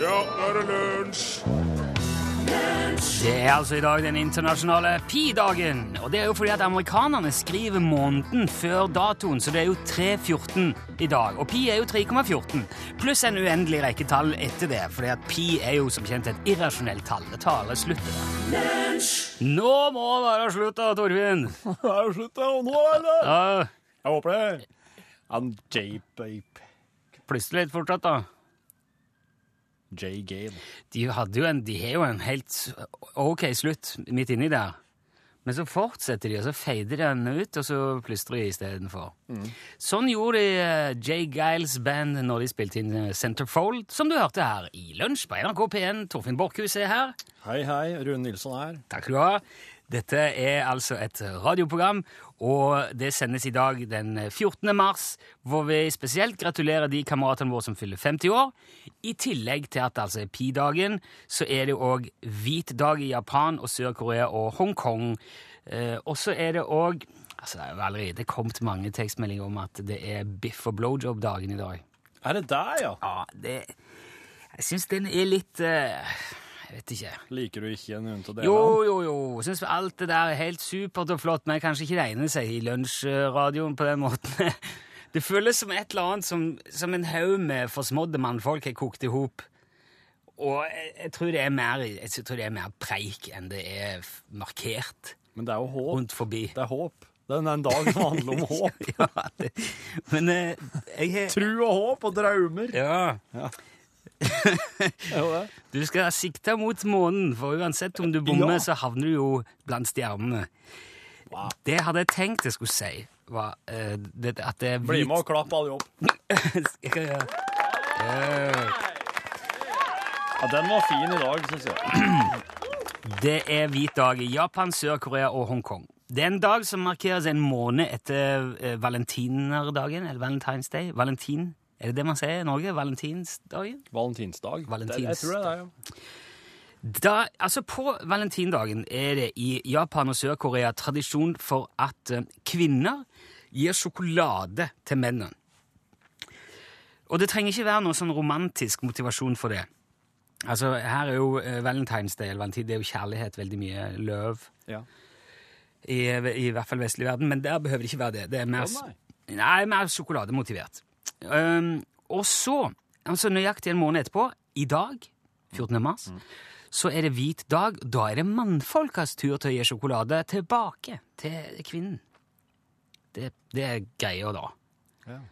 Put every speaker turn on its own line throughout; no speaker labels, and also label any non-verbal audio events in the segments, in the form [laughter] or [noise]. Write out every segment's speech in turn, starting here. Ja, nå er det lunsj! [laughs]
Det er altså i dag den internasjonale pi-dagen. Og det er jo fordi at amerikanerne skriver måneden før datoen, så det er jo 3.14 i dag. Og pi er jo 3,14. Pluss en uendelig rekke tall etter det, fordi at pi er jo som kjent et irrasjonelt tall. Det tar aldri slutt. det der. Nå må det være slutt, da, Torfinn.
Det er slutt, da. og Nå er det
Ja,
Jeg håper det. Han J-Bape.
plystre litt fortsatt, da.
J-Gale.
De, hadde jo en, de har jo en helt ok slutt midt inni der. Men så fortsetter de, og så feider den ut, og så plystrer de istedenfor. Sånn gjorde de eh, Jay Giles band når de spilte inn eh, Centerfold, som du hørte her i Lunsj på NRK P1. Torfinn Borchhus er her.
Hei, hei. Rune Nilsson her.
Takk skal du ha. Dette er altså et radioprogram, og det sendes i dag den 14. mars, hvor vi spesielt gratulerer de kameratene våre som fyller 50 år. I tillegg til at det altså er pi-dagen, så er det òg hvit dag i Japan og Sør-Korea og Hongkong. Eh, og så er det òg Altså, det er jo allerede kommet mange tekstmeldinger om at det er biff og blowjob-dagen i dag.
Er det deg, ja?
Ja, det Jeg syns den er litt eh, Jeg vet ikke.
Liker du ikke en hund til å dele
Jo, jo, jo. Syns alt det der er helt supert og flott, men kanskje ikke det egner seg i lunsjradioen på den måten. [laughs] Det føles som et eller annet som, som en haug med forsmådde mannfolk har kokt i hop. Og jeg, jeg, tror det er mer, jeg tror det er mer preik enn det er f- markert
Men det er jo håp.
rundt forbi.
Det er håp. Det er en dag som handler [laughs] om håp.
[laughs] Ja, det, men eh, jeg har
Tru og håp og drømmer.
Ja.
Det er jo det.
Du skal sikte mot månen, for uansett om du bommer,
Ja.
så havner du jo blant stjernene.
Wow.
Det jeg hadde tenkt jeg skulle si, var eh, det, at det er
Bli med og klapp alle opp.
[laughs] Skal jeg gjøre? Eh,
Ja, den var fin i dag, syns jeg.
det er hvit dag i Japan, Sør-Korea og Hongkong. Det er en dag som markeres en måned etter eh, valentinerdagen, eller Valentine's Day. Valentin, er det det man sier i Norge? Valentinsdagen?
Valentinsdag.
Valentins-
Jeg tror det er det, ja.
Da, altså På valentindagen er det i Japan og Sør-Korea tradisjon for at eh, kvinner gir sjokolade til mennene. Og det trenger ikke være noe sånn romantisk motivasjon for det. Altså, Her er jo eh, Valentine's Day, eller valentin, det er jo kjærlighet, veldig mye løv.
ja.
I, I hvert fall vestlig verden, men der behøver det ikke være det. Det er mer,
Å, nei.
nei, mer sjokolademotivert. Ehm, og så, altså nøyaktig en måned etterpå, i dag, 14.
Mm.
mars, så er det hvit dag. Da er det mannfolkas tur til å gi sjokolade tilbake til kvinnen. Det, det er greia da.
Ja.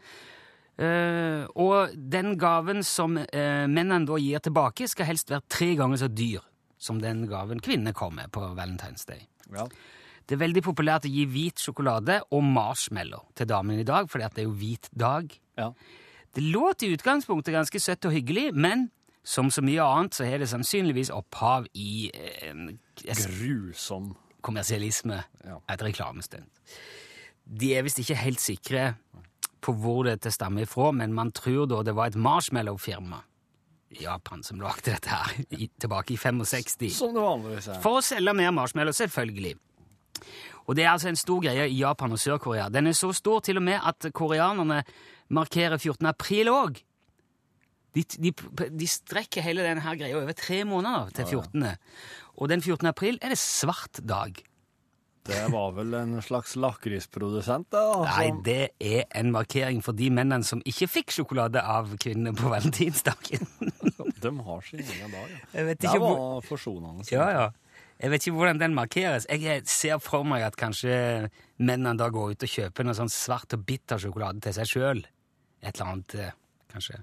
Eh, og den gaven som eh, mennene da gir tilbake, skal helst være tre ganger så dyr som den gaven kvinnene kom med på Valentine's Day.
ja.
Det er veldig populært å gi hvit sjokolade og marshmallow til damene i dag, fordi at det er jo hvit dag.
Ja.
Det låt i utgangspunktet ganske søtt og hyggelig, men som så mye annet så har det sannsynligvis opphav i eh, en en
Grusom.
kommersialisme,
Ja.
et reklamestunt. De er visst ikke helt sikre på hvor dette stammer ifra, men man tror da det var et marshmallow-firma i Japan som lagde dette her, i, tilbake i 65.
Som det vanligvis er.
For å selge mer marshmallow, selvfølgelig. Og det er altså en stor greie i Japan og Sør-Korea. Den er så stor til og med at koreanerne markerer 14. april òg. De, de, de strekker hele denne her greia over tre måneder til 14. Og den 14. april er det svart dag.
Det var vel en slags lakrisprodusent, da.
Nei,
som-
det er en markering for de mennene som ikke fikk sjokolade av kvinnene på [laughs] valentinsdagen.
De har sin egen dag, ja.
[laughs] Jeg vet
Det
ikke hvor...
var forsonende.
Ja, ja. Jeg vet ikke hvordan den markeres. Jeg ser for meg at kanskje mennene da går ut og kjøper noe sånn svart og bitter sjokolade til seg sjøl. Et eller annet, eh, kanskje.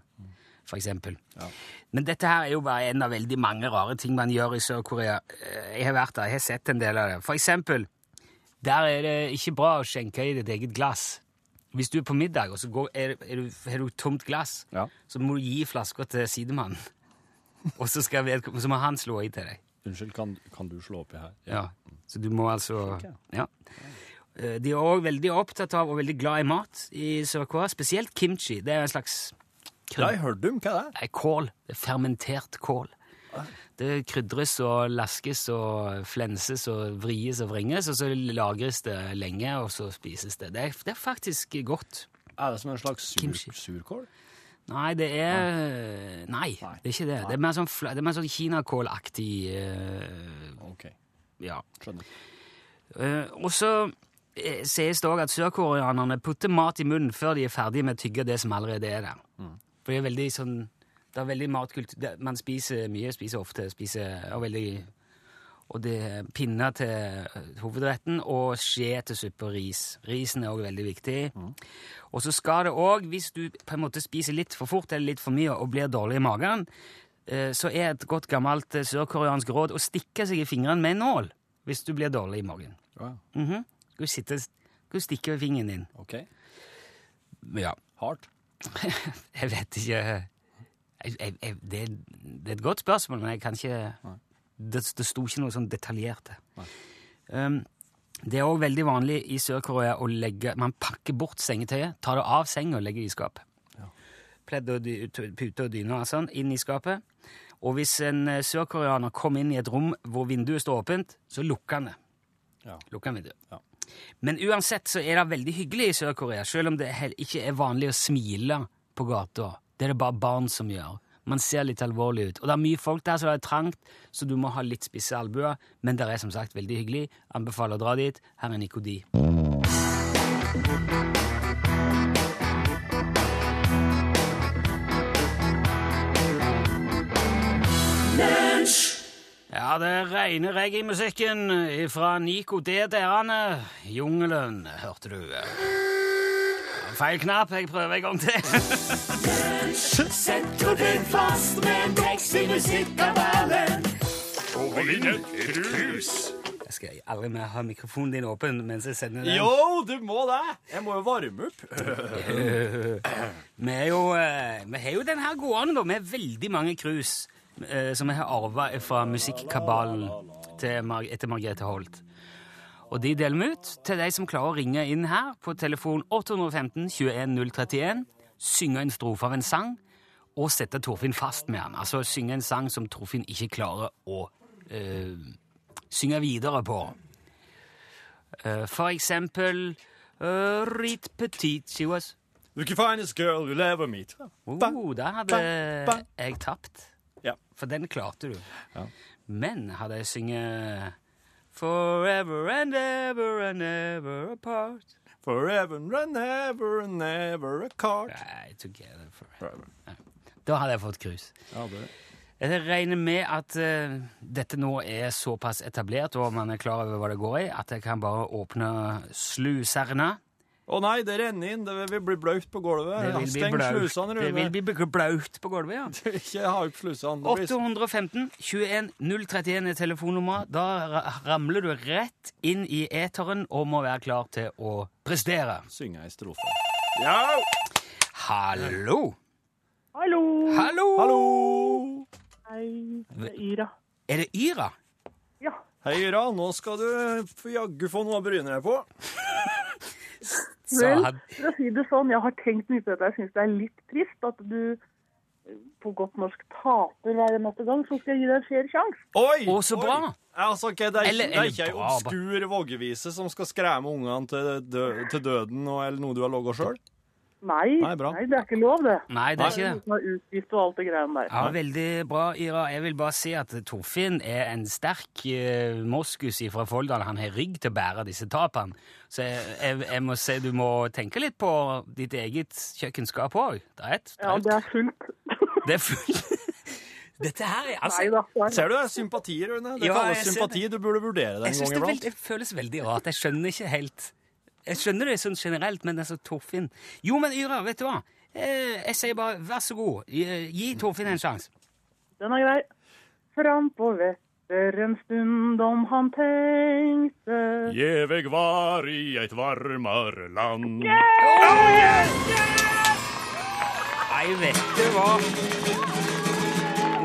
For eksempel.
Ja.
Men dette her er jo bare en av veldig mange rare ting man gjør i Sør-Korea. Eh, Jeg har vært der, jeg har sett en del av det. For eksempel, der er det ikke bra å skjenke i ditt eget glass. Hvis du er på middag, og så går, er, er du, har du tomt glass,
Ja.
så må du gi flasker til sidemannen. [laughs] Og så, skal vedkommende- så må han slå i til deg.
Unnskyld, kan, kan du slå oppi her?
Ja, så du må altså
Slik,
ja. Eh, De er òg veldig opptatt av og veldig glad i mat i Sør-Korea, spesielt kimchi. Det er en slags
Ja,
krydder.
jeg hørte om hva det er.
Nei, kål. Det er fermentert kål.
Ah.
Det krydres og laskes og flenses og vries og vringes, og så lagres det lenge, og så spises det. Det er, det er faktisk godt.
Er det som en slags sur,
Kimchi.
surkål?
Nei, det er Nei,
Ah. Nei.
det er ikke det. Det er mer sånn, fla- det er mer sånn kinakålaktig eh,
Ok,
Ja.
skjønner.
Eh, og så eh, sies det òg at sørkoreanerne putter mat i munnen før de er ferdige med å tygge det som allerede er der. For det er veldig sånn Det er veldig matkult det, Man spiser mye, spiser ofte, spiser og veldig Og det er pinner til eh, hovedretten og skje til suppe og ris. Risen er òg veldig viktig. Og så skal det òg, hvis du på en måte spiser litt for fort eller litt for mye og blir dårlig i magen, eh, så er et godt gammelt eh, sørkoreansk råd å stikke seg i fingrene med en nål hvis du blir dårlig i magen.
Ja,
Mhm. Skal du sitte Skal du stikke fingeren din?
ok.
Ja.
Hardt.
Jeg vet ikke jeg, jeg, jeg, det, det er et godt spørsmål, men jeg kan ikke Det, det sto ikke noe sånn detaljert der. Um, det er òg veldig vanlig i Sør-Korea å legge Man pakker bort sengetøyet, tar det av senga og legger det i skapet. Pledd og dy, pute og dyne og sånn inn i skapet. Og hvis en eh, sørkoreaner kom inn i et rom hvor vinduet står åpent, så lukker han det.
Ja.
Lukker han vinduet.
Ja.
Men uansett så er det veldig hyggelig i Sør-Korea, selv om det hel- ikke er vanlig å smile på gata. Det er det bare barn som gjør. Man ser litt alvorlig ut. Og det er mye folk der, så det er trangt, så du må ha litt spisse albuer. Men det er som sagt veldig hyggelig. Anbefaler å dra dit. Her er Nikodi. Ja, det regner reggae-musikken fra Nico D. Derane. Jungelen, hørte du. Feil knapp. Jeg prøver en gang til.
Sett hodin fast med en tekst i musikkabalen.
Jeg skal aldri mer ha mikrofonen din åpen mens jeg sender den.
Jo, du må det! Jeg må jo varme opp. [laughs]
Vi, er jo, eh, vi har jo den her gående, da, med veldig mange krus eh, som jeg har arva fra musikkabalen til Mar etter Margrethe Holt. Og de deler vi ut til de som klarer å ringe inn her på telefon 815 21 031, synge en strofe av en sang og sette Torfinn fast med den. Altså synge en sang som Torfinn ikke klarer å eh, synge videre på. Eh, for eksempel uh, Rit petit she was
You're the finest girl you'll ever meet.
Oh, der hadde
bang, bang.
jeg tapt.
Ja.
For den klarte du. Men hadde jeg synget Forever and ever and ever apart
Forever and ever and ever a cart.
Nei, together forever.
Forever.
Da hadde jeg fått krus.
Ja, det
Jeg regner med at eh, dette nå er såpass etablert, og man er klar over hva det går i, at jeg kan bare åpne sluserne.
Å nei, det renner inn. Det vil bli blaut på gulvet.
Det vil bli
Steng
blaut.
slusene,
Det
Rune.
vil bli blaut på gulvet, ja.
[laughs] Ikke ha opp slusene. Det blir-
815 21 031 er telefonnummeret. Da ra- ramler du rett inn i eteren og må være klar til å prestere.
Synge ei strofe. Ja!
Hallo!
Hallo!
Hallo!
Hallo!
Hei, det er Yra.
Er det Ira?
Ja,
Hei, Ira. Nå skal du få jaggu få noe å bryne deg på.
Sa
vel,
han.
for å si det sånn, jeg har tenkt mye på dette. Jeg syns det er litt trist at du eh, på godt norsk taper hver eneste gang, så skal jeg gi deg en fair sjanse.
Oi!
Å, så
oi.
bra!
Altså, ok, det er,
Eller-
det er ikke ei
eller bra,
obskur voggevise som skal skremme ungene til, dø til døden og, eller noe du har laga sjøl.
Nei,
Nei, bra.
det er ikke lov, det.
Nei, det er ikke det.
Uten å utgifte og alt det greiene der.
Ja, Veldig bra, Ira. Jeg vil bare si at Torfinn er en sterk eh, moskus fra Folldal. Han har rygg til å bære disse tapene. Så jeg, jeg, jeg må si du må tenke litt på ditt eget kjøkkenskap òg. Det er et
Ja, det er fullt.
Det er fullt. [laughs] Dette her er altså
Nei da. det er-
Ser du det? er Sympati, Rune. Det
Ja,
kalles
jeg ser
sympati. Du burde vurdere det
Jeg
en
synes
gang
det, er
iblant.
veldig, det føles veldig rart. Jeg skjønner ikke helt Jeg skjønner det sånn generelt, men altså, Torfinn Jo, men Yra, vet du hva? Eh, Jeg sier bare vær så god, gi gi Torfinn en sjanse.
Den er grei. Fram på vetter en stund om han tenkte.
Gjeveg var i eit varmare land.
Nei, vet du hva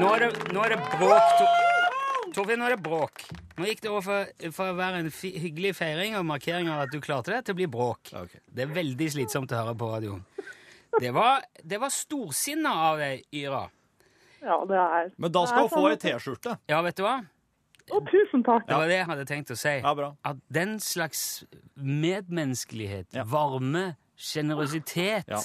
Nå er det, nå er det bråk, Tor- Torfinn. Nå er det bråk. Nå gikk det over fra- fra å være en fi, hyggelig feiring og markering av at du klarte det, til å bli bråk.
Ok.
Det er veldig slitsomt å høre på radioen. Det var, det var storsinna av deg, Yra.
Ja, det er sånn
Men da skal hun få ei T-skjorte.
Ja, vet du hva?
Å, tusen takk.
Det var det jeg hadde tenkt å si.
Ja, bra.
At den slags medmenneskelighet,
Ja.
varme, sjenerøsitet
Ja.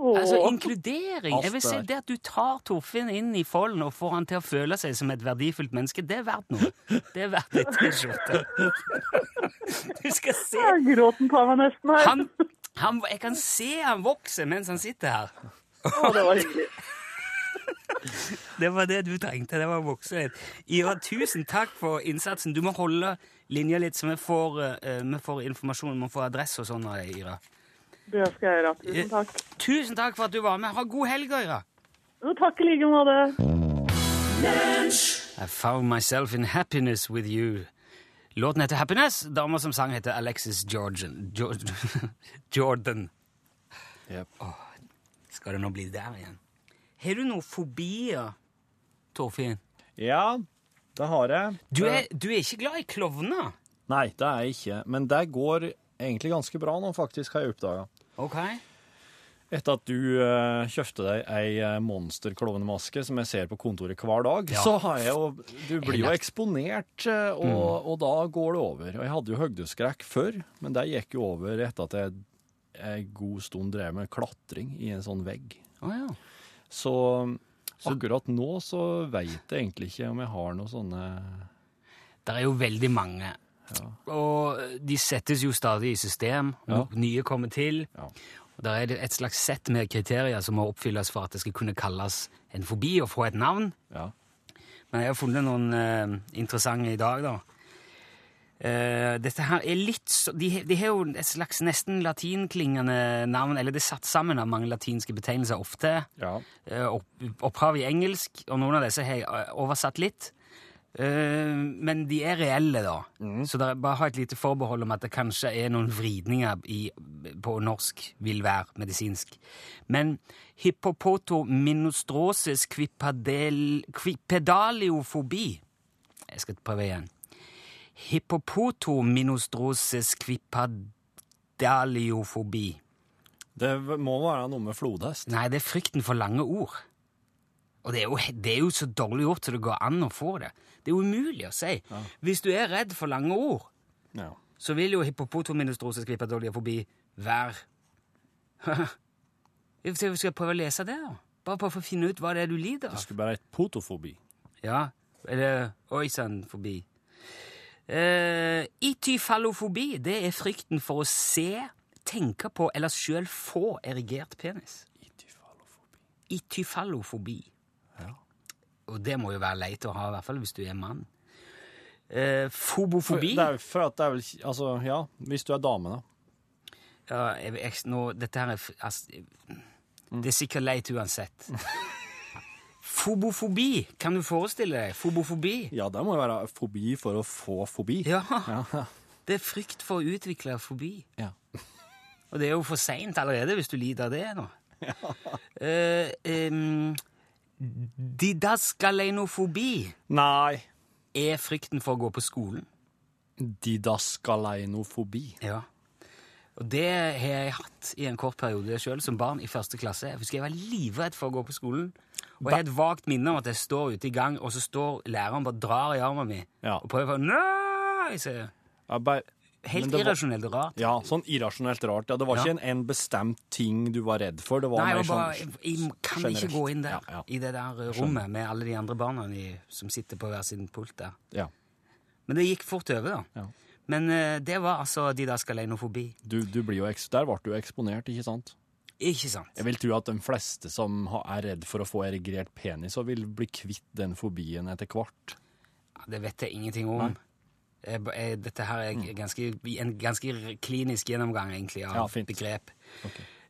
Å,
Altså inkludering.
Alt
Jeg vil si
det
det at du tar Torfinn inn i folden og får han til å føle seg som et verdifullt menneske, det er verdt noe. Det er verdt
[laughs]
et T-skjorte. Du skal se
Ja, gråten tar meg nesten her.
han, han, Jeg kan se han vokser mens han sitter her.
Å, det var hyggelig.
[laughs] Det var det du trengte. det var å vokse litt. Ivar, tusen takk for innsatsen. Du må holde linja litt, så vi får, eh, vi får informasjon, vi får adresse og sånn. av deg, Ira.
Det skal jeg gjøre. Tusen takk.
Tusen takk for at du var med. Ha god helg, Ira.
Jo, takk i like måte.
I found myself in happiness with you. Låten heter Happiness. Dama som sang, heter Alexis Georgian. Georg- [laughs] Jordan.
Yep.
Åh, skal det nå bli der igjen? Har du noen fobier, Torfinn?
Ja, det har jeg.
Du er, du er ikke glad i klovner?
Nei, det er jeg ikke. Men det går egentlig ganske bra nå, faktisk, har jeg oppdaga.
Ok.
Etter at du eh, kjøpte deg ei eh, monsterklovnemaske som jeg ser på kontoret hver dag,
Ja.
så har jeg jo Du blir jo
lagt-
eksponert, eh, og, og da går det over. Og jeg hadde jo høydeskrekk før, men det gikk jo over etter at jeg en god stund drev med klatring i en sånn vegg.
Å ja.
Så akkurat nå så veit jeg egentlig ikke om jeg har noe sånne
Det er jo veldig mange. Og de settes jo stadig i system.
Ja.
Nye kommer til.
Ja.
Og der er det et slags sett med kriterier som må oppfylles for at det skal kunne kalles en fobi og få et navn.
Ja.
Men jeg har funnet noen eh, interessante i dag, da. Eh, dette her er litt så, de, he- de har jo et slags nesten latinklingende navn, eller det er satt sammen av mange latinske betegnelser ofte.
ja.
Eh, opp, opphav i engelsk, og noen av disse har jeg eh, oversatt litt. Eh, men de er reelle, da. Så der, bare ha et lite forbehold om at det kanskje er noen vridninger i, på norsk vil være medisinsk. Men hippopotominostrosis quipedal, quipedaliofobi Jeg skal prøve igjen. Hippopotominostrosis quipedaliofobi.
Det må være noe med flodhest.
Nei, det er frykten for lange ord. Og det er, jo, det er jo så dårlig gjort så det går an å få det. Det er jo umulig å si. Hvis du er redd for lange ord,
Ja.
så vil jo hippopotominostrosis forbi være [laughs] Jeg skal- Skal jeg prøve å lese det, da? Bare prøve for å finne ut hva det er du lider
Det
av.
skulle være et potofobi.
Ja, eller oi sann forbi. Eh, ityfallofobi, det er frykten for å se, tenke på eller sjøl få erigert penis. Ityfallofobi. Og det må jo være leit å ha, i hvert fall hvis du er mann. Eh, fobofobi
Det er jo for at det er vel Altså, ja, hvis du er dame, da.
ja, jeg, jeg, nå, Dette her er f- altså,
Mm.
Det er sikkert leit
[laughs]
uansett. Fobofobi, kan du forestille deg? Fobofobi.
Ja, det må jo være fobi for å få fobi.
Ja. [laughs] Det er frykt for å utvikle fobi.
Ja.
Og det er jo for seint allerede hvis du lider av det nå. Eh, em, didaskaleinofobi
Nei.
er frykten for å gå på skolen.
Didaskaleinofobi.
Ja. Og det har jeg hatt i en kort periode sjøl, som barn i første klasse. Jeg husker jeg var livredd for å gå på skolen. Og jeg har et vagt minne om at jeg står ute i gang, og så står læreren bare drar i armen min
Ja.
og prøver å Nei! Så,
Ja, bare- men
helt
det var-
irrasjonelt og rart.
Ja, sånn irrasjonelt rart. Ja, det var
Ja.
ikke en, en bestemt ting du var redd for. Det var
Nei,
mer
jeg, bare,
sånn
jeg, jeg kan ikke
generelt.
gå inn der,
Ja, ja.
i det der eh, rommet med alle de andre barna i, som sitter på hver sin pult der.
Ja.
Men det gikk fort over, da.
Ja.
Men eh, det var altså didaskaleinofobi.
Du, du blir jo eks der ble du jo eksponert, ikke sant?
Ikke sant?
Jeg vil tro at de fleste som ha- er redd for å få erigert penis, så vil bli kvitt den fobien etter hvert.
Ja, Det vet jeg ingenting om. Jeg, ba- jeg, dette her er g- ganske, en ganske r- klinisk gjennomgang, egentlig, av
Mm. Ja, fint.
begrep.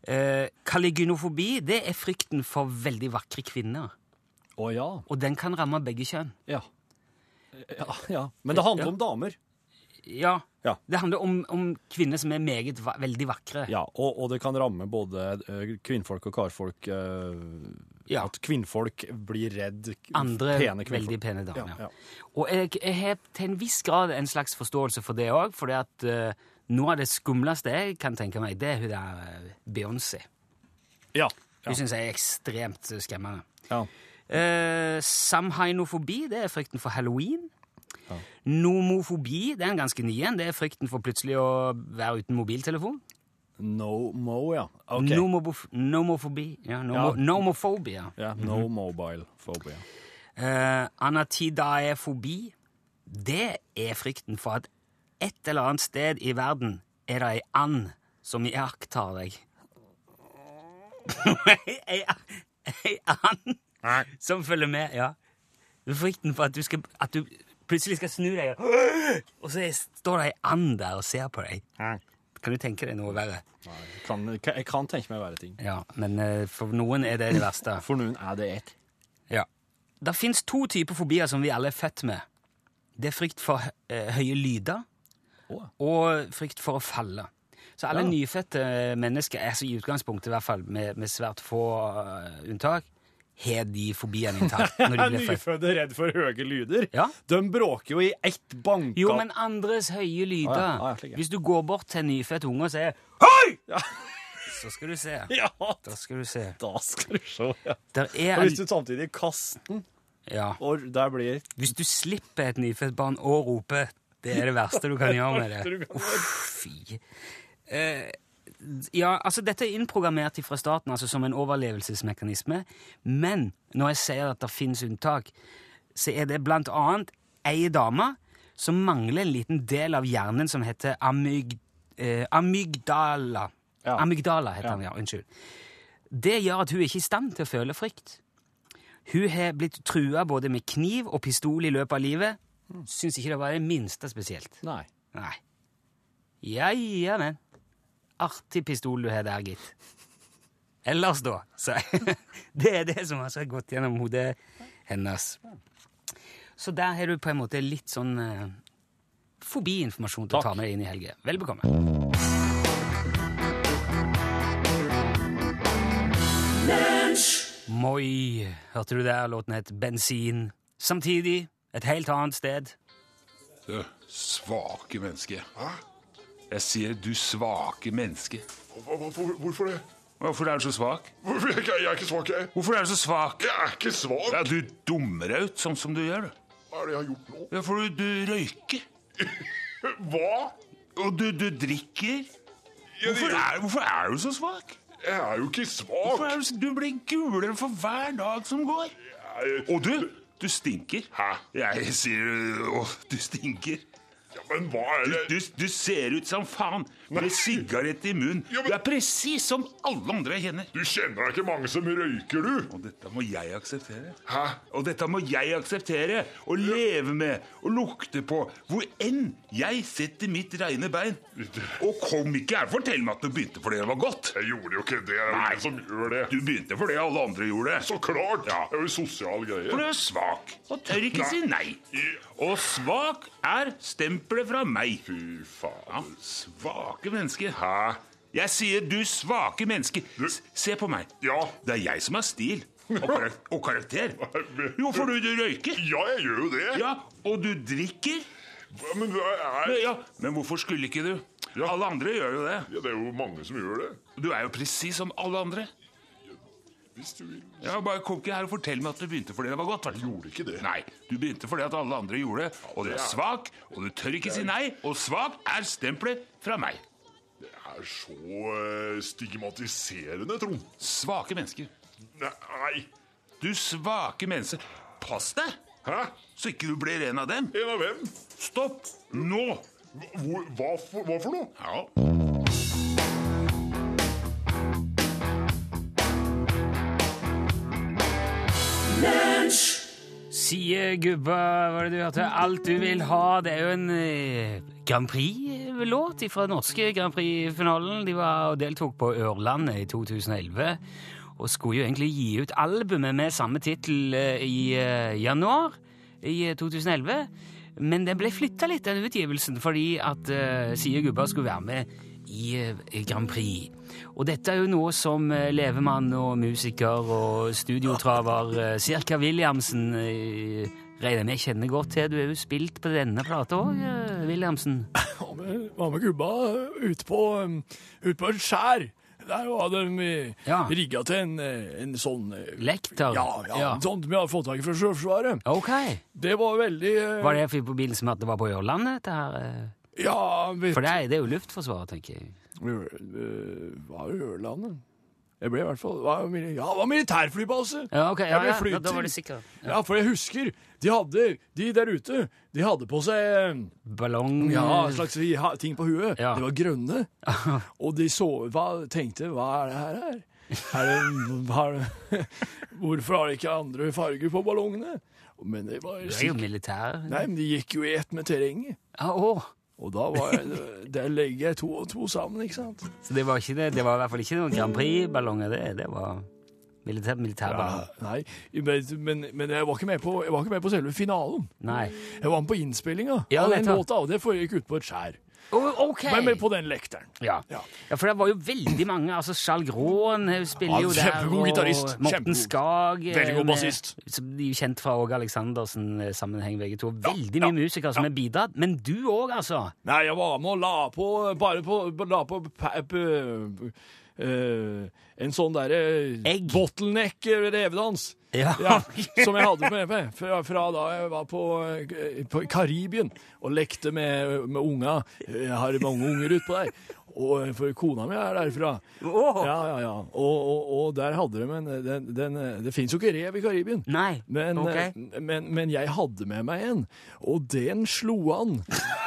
Eh, Kaligunofobi, det er frykten for veldig vakre kvinner.
Å ja.
Og den kan ramme begge kjønn.
Ja. Ja, ja. Men det handler om damer.
Ja.
Ja.
Det handler om, om kvinner som er meget, va veldig vakre.
Ja, og, og det kan ramme både ø, kvinnfolk og karfolk. ø,
Ja.
At kvinnfolk blir redd k-
andre
pene kvinnfolk.
veldig pene damer.
Ja, ja.
Og jeg, jeg har til en viss grad en slags forståelse for det òg, fordi at eh, noe av det skumleste jeg kan tenke meg, det er hun der eh, Beyoncé.
Ja.
Hun synes syns jeg er ekstremt skremmende.
ja.
Eh, samhainofobi, det er frykten for halloween. Nomofobi, det er en ganske ny en. Det er frykten for plutselig å være uten mobiltelefon.
No mo, ja. Ok.
Nomobof nomofobi. Ja, nomo
Ja.
Nomofobia.
ja no mobile phobia.
Eh, anatidaefobi, det er frykten for at et eller annet sted i verden er det ei and som iakttar deg. [laughs] ei, ei and som følger med, ja. Det er Frykten for at du, skal, at du plutselig skal snu deg, og så er- står det ei and der og ser på deg. Kan du tenke deg noe verre?
Nei, jeg kan, jeg kan tenke meg verre ting.
Ja, men eh, for noen er det det verste.
For noen er det ett.
Ja. Det fins to typer fobier som vi alle er født med. Det er frykt for eh, høye lyder
Å.
og frykt for å falle. Så alle
Ja.
nyfødte mennesker, altså i utgangspunktet i hvert fall, med, med svært få eh, unntak, har de fobiene
[laughs]
intakt når de blir født.
Nyfødte redd for høye lyder.
Ja.
De bråker jo i ett banka.
Jo, men andres høye lyder.
Å ja, å ja, slik, ja.
Hvis du går bort til en nyfødt unge og sier Hei! [laughs] Så skal du
[laughs]
se.
[laughs] Ja,
Da skal du se.
da skal du se. Ja.
Der er
Og hvis
en,
du samtidig kaster den,
ja.
og der blir
Hvis du slipper et nyfødt barn å rope, det er det verste du kan gjøre med [laughs] det. Uff, fy. Eh, ja, altså dette er innprogrammert fra starten altså som en overlevelsesmekanisme, men når jeg sier at det finnes unntak, så er det blant annet ei dame som mangler en liten del av hjernen som heter amyg, eh, amygdala.
Ja.
Amygdala heter den, ja. Unnskyld. Det gjør at hun er ikke i stand til å føle frykt. Hun har blitt trua både med kniv og pistol i løpet av livet. Syns ikke det var det minste spesielt.
Nei.
Nei. Ja, ja, men. Artig pistol du har der, gitt. Ellers, da. Så [laughs] det er det som altså har gått gjennom hodet hennes. Så der har du på en måte litt sånn eh, fobiinformasjon til å ta med inn i helga. Vel bekomme. Moi, hørte du der? Låten het Bensin. Samtidig et helt annet sted.
Du, svake menneske. Jeg sier du svake menneske.
hvorfor det?
Hvorfor er du så svak?
Hvorfor, jeg, jeg er ikke svak, jeg.
Hvorfor er du så svak?
Jeg er ikke svak.
Ja, du dummer deg ut sånn som du gjør. du.
Hva er det jeg har gjort nå?
Ja, for du, du røyker.
Hva?
Og du, du drikker.
Jeg,
Hvorfor
jeg,
er, hvorfor er du så svak?
jeg er jo ikke
Hvorfor
svak.
er du, så- du blir gulere for hver dag som går.
Jeg,
Og du, du stinker.
Hæ?
Jeg sier å, du stinker.
Ja, men hva er
Du,
det?
du, du ser ut som faen med sigarett i munnen.
Ja, men-
Du er presis som alle andre jeg kjenner.
Du kjenner deg ikke mange som røyker, du.
Og dette må jeg akseptere.
Hæ?
Og dette må jeg akseptere og leve med og lukte på hvor enn jeg setter mitt reine bein. Og kom ikke her og fortell meg at du begynte fordi det var godt.
Jeg gjorde jo ikke det. Det er jo
Nei.
ingen som gjør det.
Du begynte fordi alle andre gjorde det.
Så klart.
Ja.
Det er jo en sosial
For
greie.
du er svak og tør ikke si nei. Og svak er stempelet fra meg.
Fy
Ja,
faen.
svake mennesker.
Hæ?
Jeg sier du svake menneske. S- Se på meg.
Ja.
Det er jeg som har stil og, karak og karakter. Jo, for du, du røyker.
Ja, jeg gjør jo det.
Ja, og du drikker.
Hva- Men hva er
Ja, men hvorfor skulle ikke du?
Ja.
Alle andre gjør jo det.
ja, det er jo mange som gjør det.
Du er jo presis som alle andre.
Hvis du vil.
Ja, bare Kom ikke her og fortell meg at du begynte fordi det var godt. hvertfall.
Gjorde ikke det.
Nei, du begynte fordi at alle andre gjorde det. Og du er svak, og du tør ikke si nei. Og svak er stempelet fra meg.
Det er så eh, stigmatiserende, Trond.
Svake mennesker.
Nei.
Du svake menneske. Pass deg,
Hæ?
så ikke du blir en av dem.
En av hvem?
Stopp nå!
Hvor, hva, for, hva for noe?
Ja.
Sier gubba, hva er det du hørte? Alt du vil ha. Det er jo en eh, Grand Prix-låt fra norske Grand Prix-finalen. De var og deltok på Ørlandet i 2011. Og skulle jo egentlig gi ut albumet med samme tittel eh, i eh, januar i eh, 2011. Men den ble flytta litt, den utgivelsen, fordi at eh, Sier gubba skulle være med i eh, Grand Prix. Og dette er jo noe som eh, levemann og musiker og studiotraver eh, Sirka Williamsen eh, regner jeg med kjenner godt til. Du har jo spilt på denne plata òg, Williamsen.
Hva med, hva med gubba ute på, um, ut på et skjær? Der var de eh,
Ja.
rigga til en, eh, en sånn eh,
Lekter.
Ja, ja, en sånn vi har fått tak i fra Sjøforsvaret.
Ok.
Det var veldig eh,
Var det i forbindelse med at det var på Ørlandet? dette her? eh?
Ja, vet
For det er, det er jo Luftforsvaret, tenker jeg.
Hva er Ørlandet? Jeg ble i hvert fall hva, er mili- Ja, det var militærflybase!
Ja, ok,
jeg
ja,
ble
ja, da,
flydd
da var du
til.
sikker.
Ja. for jeg husker De hadde, de der ute, de hadde på seg eh,
Ballong
ja,
eh,
en slags i- ha- ting på huet.
Ja.
De var
[laughs]
grønne. Og de så hva, tenkte Hva er det her? her? Er det, hva er det, [laughs] hvorfor har de ikke andre farger på ballongene? Men det var
Du er jo
sikkert
militær.
Nei, men de gikk jo i ett med terrenget.
Ja, å.
Og da var jeg, [laughs] der legger jeg to og to sammen, ikke sant?
Så det var, ikke det, det var i hvert fall ikke noen Grand Prix-ballonger, det. Det var militær, militærballonger.
Nei, men, men, men jeg, var ikke med på, jeg var ikke med på selve finalen.
Nei.
Jeg var med på innspillinga
Ja,
av den
nettopp.
låta, og det foregikk ute på et skjær.
Å, ok!
Men med på den lekteren.
Ja.
Ja.
ja, for det var jo veldig mange. altså Skjalg Råen eh, spiller
Ja,
jo der.
kjempegod gitarrist,
og Morten
kjempegod.
Skag. eh,
Veldig god
med-
bassist.
Som de er jo kjent fra Åge Aleksandersen-sammenheng, begge to. Veldig mye musikere som har bidratt. Men du òg, altså.
Nei, jeg var med og la på Bare på, la på pa- p- eh, en sånn derre
Egg.
bottleneck-revedans.
Ja.
eh, Ja, som jeg hadde på EP fra, fra da jeg var på, eh, på Karibien og lekte med, med unga. Jeg har mange unger utpå der. Og eh, for kona mi er derfra. Ja, ja, ja. Og, og, og der hadde de en den, den, eh, Det fins jo ikke rev i Karibien.
Nei,
Men,
ok.
eh, men, men jeg hadde med meg en, og den slo an.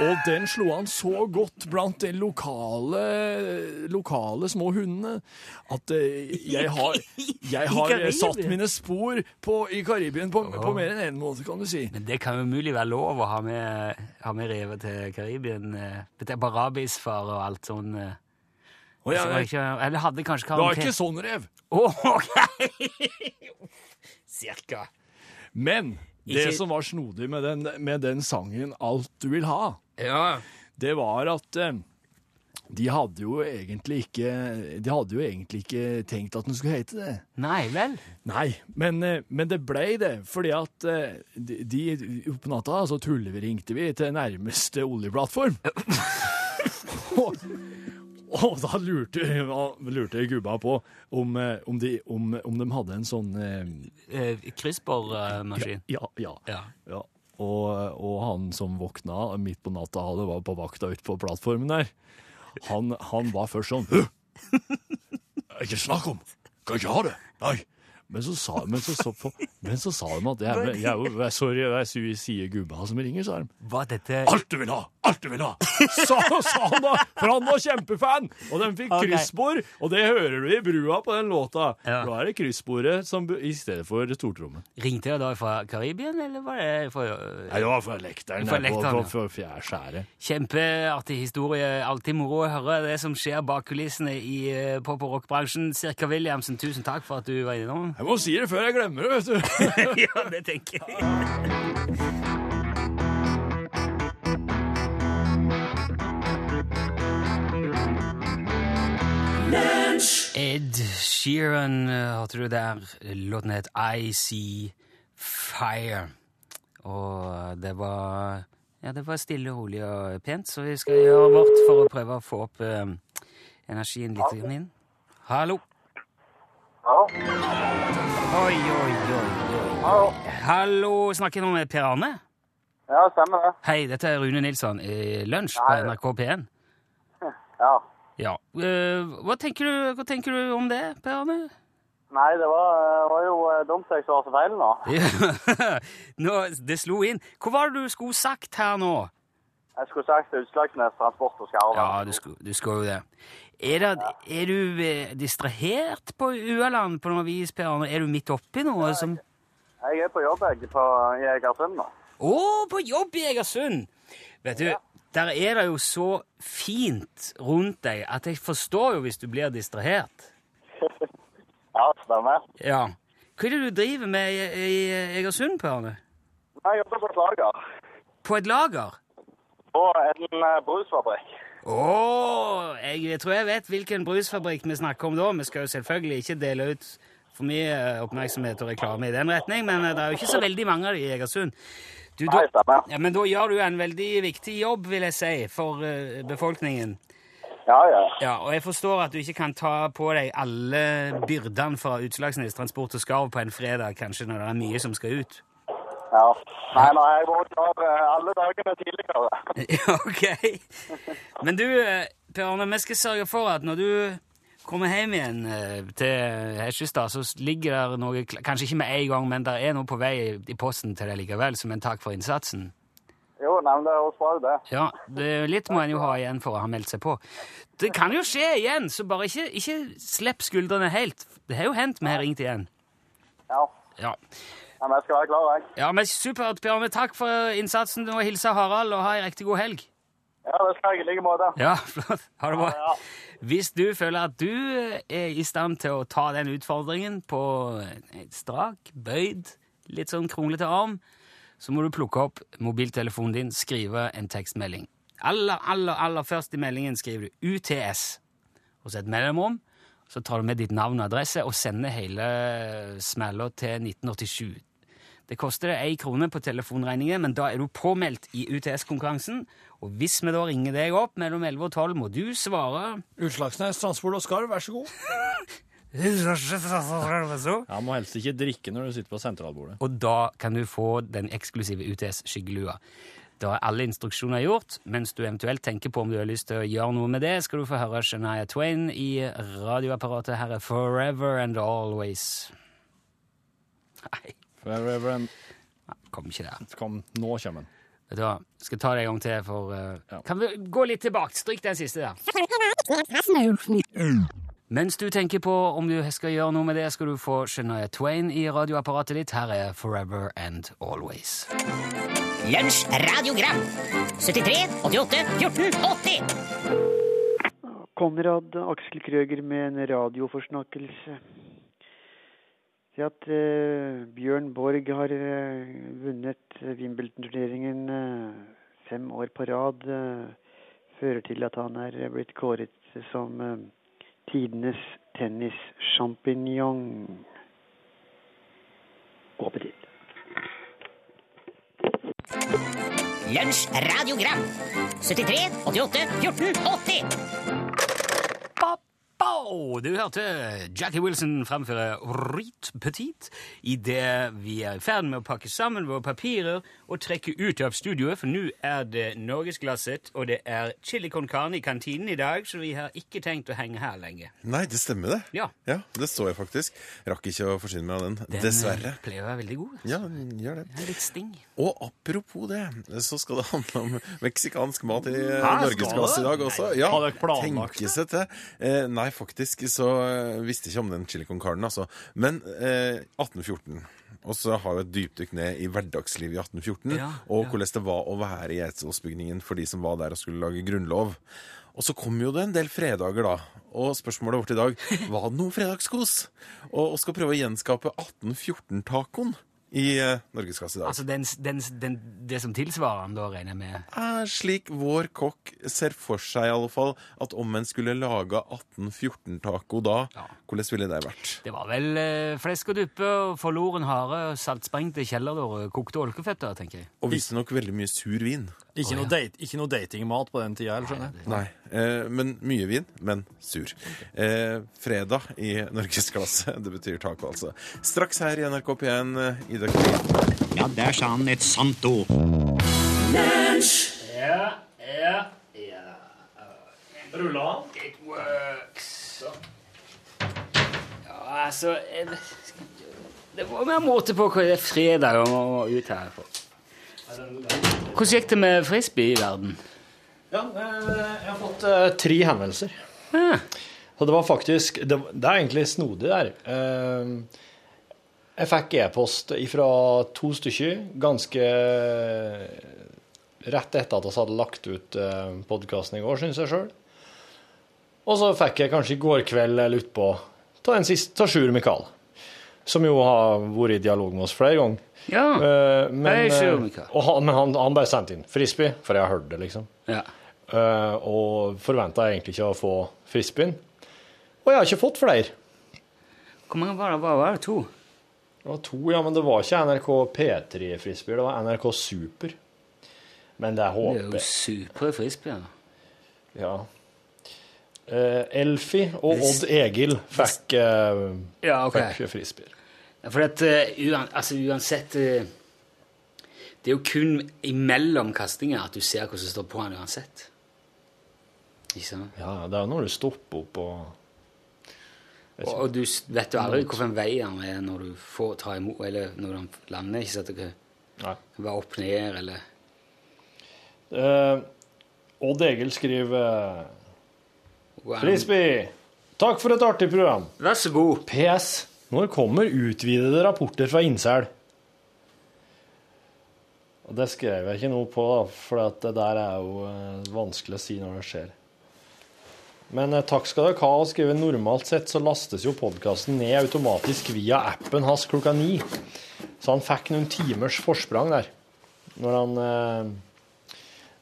Og den slo an så godt blant de lokale, lokale små hundene at eh, jeg har, jeg har eh, satt mine spor på, i Karibien på, på mer enn én en måte, kan du si.
Men det kan jo umulig være lov å ha med, ha med rever til Karibien. eh, Dette er barabisfar og alt sånn. eh.
Og
Så var
jeg,
ikke, eller hadde kanskje
det var ikke [laughs]
karantene.
sånn rev.
Å, ok! Cirka.
Men det
Ikke-
som var snodig med den, med den sangen 'Alt du vil ha',
Ja.
det var at eh, de hadde jo egentlig ikke De hadde jo egentlig ikke tenkt at den skulle hete det.
Nei vel?
Nei, men, eh, men det ble det, fordi at eh, de, de oppe på natta så tulleringte vi til nærmeste oljeplattform. [laughs] og, og da lurte, da lurte gubba på om, eh, om, de, om, om de hadde en sånn eh,
Eh, Kryssbormaskin.
Ja, ja.
Ja.
ja. Og, og han som våkna midt på natta, hadde var på vakta ute på plattformen der. Han, han var først sånn «Hø! Ikke snakk om! Kan ikke ha det! Nei! Men så sa, men så, så, på, men så sa de at jeg, jeg, er jo- Sorry, det er suicide gubba som ringer, sa de.
Var dette
Alt du vil ha! Alt du vil ha! Sa, sa han da, for han var kjempefan! Og den fikk
Ok.
kryssbord, og det hører du i brua på den låta.
Ja.
Da er det kryssbordet som, bu- i stedet for stortrommet.
Ringte jeg da fra Karibien, eller var det fra
Nei, det var fra lekteren,
Fra
der på-
lekteren, ja.
på, på fjærskjæret.
Kjempeartig historie. Alltid moro å høre det som skjer bak kulissene i eh, pop- og rockbransjen. Cirka Williamsen, tusen takk for at du var innom.
Jeg må si det før jeg glemmer det, vet du.
[laughs] ja, det tenker jeg. Ed Sheeran eh, hørte du der. Låten het I See Fire. Og det var Ja, det var stille og rolig og pent, så vi skal gjøre vårt for å prøve å få opp eh, energien litt grann inn. Hallo. Oi, oi, oi. oi. Hallo. Snakker jeg nå med Per Arne?
Ja, stemmer det.
Hei, dette er Rune Nilsson i Lunsj på NRK P1.
Ja.
Ja. eh, hva, tenker du, hva tenker du om det, Per Arne?
Nei, det var, eh, var jo eh, dumt jeg svarte feil nå.
Ja. [laughs] nå, det slo inn. Hva var det du skulle sagt her nå?
Jeg skulle sagt Utslagsnes Transport og Skarven.
Ja, du skulle, du skulle jo det. Er, det. er du eh, distrahert på Ualand på noe vis, Per Arne? Er du midt oppi noe som
Jeg er på jobb jeg, på, i Egersund nå.
Å, på jobb i Egersund! Vet du, der er det jo så fint rundt deg at jeg forstår jo hvis du blir distrahert.
Ja, stemmer.
Ja. Hva er det du driver med i, i Egersund, Per Arne?
Jeg jobber på et lager.
På et lager?
På en eh, brusfabrikk.
Å, jeg, tror jeg vet hvilken brusfabrikk vi snakker om da. Vi skal jo selvfølgelig ikke dele ut for mye oppmerksomhet og reklame i den retning, men eh, det er jo ikke så veldig mange av de i Egersund. Du,
Nei,
da,
stemmer.
ja, men da gjør du en veldig viktig jobb, vil jeg si, for eh, befolkningen.
Ja, ja.
Ja, og jeg forstår at du ikke kan ta på deg alle byrdene fra Utslagsnes Transport og Skarv på en fredag, kanskje, når det er mye som skal ut.
Ja. Nei, nei, jeg var klar eh, alle dagene tidligere.
[laughs] Ja, ok. Men du, eh, Per Arne, vi skal sørge for at når du kommer hjem igjen eh, til Hesjestad, så ligger der noe, kl- kanskje ikke med en gang, men der er noe på vei i- i posten til deg likevel, som en takk for innsatsen.
Jo, nei, men det er også bra, det.
Ja, det, litt må en jo ha igjen for å ha meldt seg på. Det kan jo skje igjen, så bare ikke, ikke slipp skuldrene helt. Det har jo hendt, vi har ringt igjen.
Ja.
Ja,
Nei, men jeg skal være klar, jeg.
ja men supert, Per Arne. Takk for innsatsen, og hilse Harald, og ha en riktig god helg.
Ja, det skal jeg i like måte.
Ja, flott. Ha det bra.
Ja, ja.
Hvis du føler at du eh, er i stand til å ta den utfordringen på en strak, bøyd, litt sånn kronglete arm, så må du plukke opp mobiltelefonen din, skrive en tekstmelding. Aller, aller, aller først i meldingen skriver du UTS, og så et mellomrom, så tar du med ditt navn og adresse og sender hele smella til 1987. Det koster deg ei krone på telefonregningen, men da er du påmeldt i UTS-konkurransen, og hvis vi da ringer deg opp mellom 11 og 12, må du svare
[laughs] Utslagsnes, Transport og Skarv, vær så god. Jeg må helst ikke drikke når du sitter på sentralbordet.
Og da kan du få den eksklusive UTS-skyggelua. Da er alle instruksjoner gjort. Mens du eventuelt tenker på om du har lyst til å gjøre noe med det, skal du få høre Shania Twain i radioapparatet. Her er Forever and Always. Nei,
Forever and
kom ikke der.
Kom, nå kommer den.
Vet du hva, skal ta det en gang til for eh, Kan vi gå litt tilbake? Stryk den siste der. Mens du tenker på om du skal gjøre noe med det, skal du få Shania Twain i radioapparatet ditt. Her er Forever and Always.
Lunsj radiogram 73 88 14 80
Konrad Aksel Krøger med en radioforsnakkelse. Det at eh, Bjørn Borg har eh, vunnet Wimbledon-turneringen eh, fem år på rad, eh, fører til at han er blitt kåret som eh, tidenes tennissjampinjong. God appetitt.
Lunsj radiogram 73 88 14 80
Bow! Du hørte Jackie Wilson fremføre Rit Petit idet vi er i ferd med å pakke sammen våre papirer og trekke ut av studioet, for nå er det norgesglasset, og det er chili con carne i kantinen i dag, så vi har ikke tenkt å henge her lenge.
Nei, det stemmer, det.
Ja.
Det så jeg faktisk. Rakk ikke å forsyne meg av den.
Den
Dessverre.
eh, pleier å være veldig god.
Ja, den gjør det.
Den er Litt sting.
Og apropos det, så skal det handle om meksikansk mat i
skal
norgesklasse i dag også. Ja,
Har dere planlagt
tenke seg til. Eh, nei, faktisk så eh, visste jeg ikke om den chili con carne, altså. Men eh, 1814. Og så har vi et dypdykk ned i hverdagslivet i 1814,
Ja,
og
ja.
hvordan det var å være i Geitsåsbygningen for de som var der og skulle lage grunnlov. Og så kom jo det en del fredager, da. Og spørsmålet vårt i
[laughs]
dag var det noe fredagskos? Og, og skal prøve å gjenskape 1814-tacoen i eh, Norgesklasse i dag.
Altså den, den, den, det som tilsvarer den, da, regner jeg med.
er slik vår kokk ser for seg i alle fall at om en skulle laga 1814-taco da,
Ja.
hvordan ville det vært?
Det var vel eh, flesk og duppe, og forloren hare, saltsprengte kjellerdår, og kokte olkeføtter, tenker jeg.
Og visstnok veldig mye sur vin.
Ikke noe, date, ikke noe datingmat på den tida, skjønner jeg.
Nei. Eh, men mye vin, men sur. Eh, fredag i norgesklasse, [laughs] det betyr taco, altså. Straks her i NRK P1 eh, i Døgnet.
Ja, der sa han et sant ord.
Ja, ja. Rulla It works. Så. Ja, altså jeg- Det var mer måte på hva det er fredag og og ut her for. Hvordan gikk det med frisbee i verden?
Ja, eh, jeg har fått eh, tre henvendelser. Ah.
Ja.
Så det var faktisk Det, det er egentlig snodig der. Eh, jeg fikk e-post fra to stykker ganske eh, rett etter at vi hadde lagt ut eh, podkasten i går, syns jeg sjøl. Og så fikk jeg kanskje i går kveld eller utpå ta en sist ta Sjur Mikael. Som jo har vært i dialog med oss flere ganger.
Ja.
Eh,
Hei,
men
Sjur
eh,
Mikael.
og han, men han, han bare sendte inn frisbee, for jeg har hørt det, liksom.
ja.
Eh, og forventa egentlig ikke å få frisbeen. Og jeg har ikke fått flere.
Hvor mange var det? Hva var det? To?
Det var to, ja, men det var ikke NRK P3-frisbeer, det var NRK Super. Men det er
Det er jo
HP.
supre frisbeer.
Ja. Eh, Elfi og Odd Egil fikk, eh,
Ja, ok.
fikk frisbeer.
Ja, For at, eh, uan, altså, uansett eh, Det er jo kun imellom kastinger at du ser hva som står på den uansett. Ikke sant?
Ja, det er jo når du stopper opp og
Og, og du s- vet jo aldri hvilken vei han er når du får ta imot, eller når han lander. Ikke sant? Det
kan
være opp ned, eller
Eh, Odd Egil skriver Frisbee, takk for et artig program.
Vær så god.
PS. Når kommer utvidede rapporter fra Innsel? Og det skrev jeg ikke noe på, da, for at det der er jo eh, vanskelig å si når det skjer. Men eh, takk skal dere ha. og skriver normalt sett så lastes jo podkasten ned automatisk via appen hans klokka ni. Så han fikk noen timers forsprang der når han eh,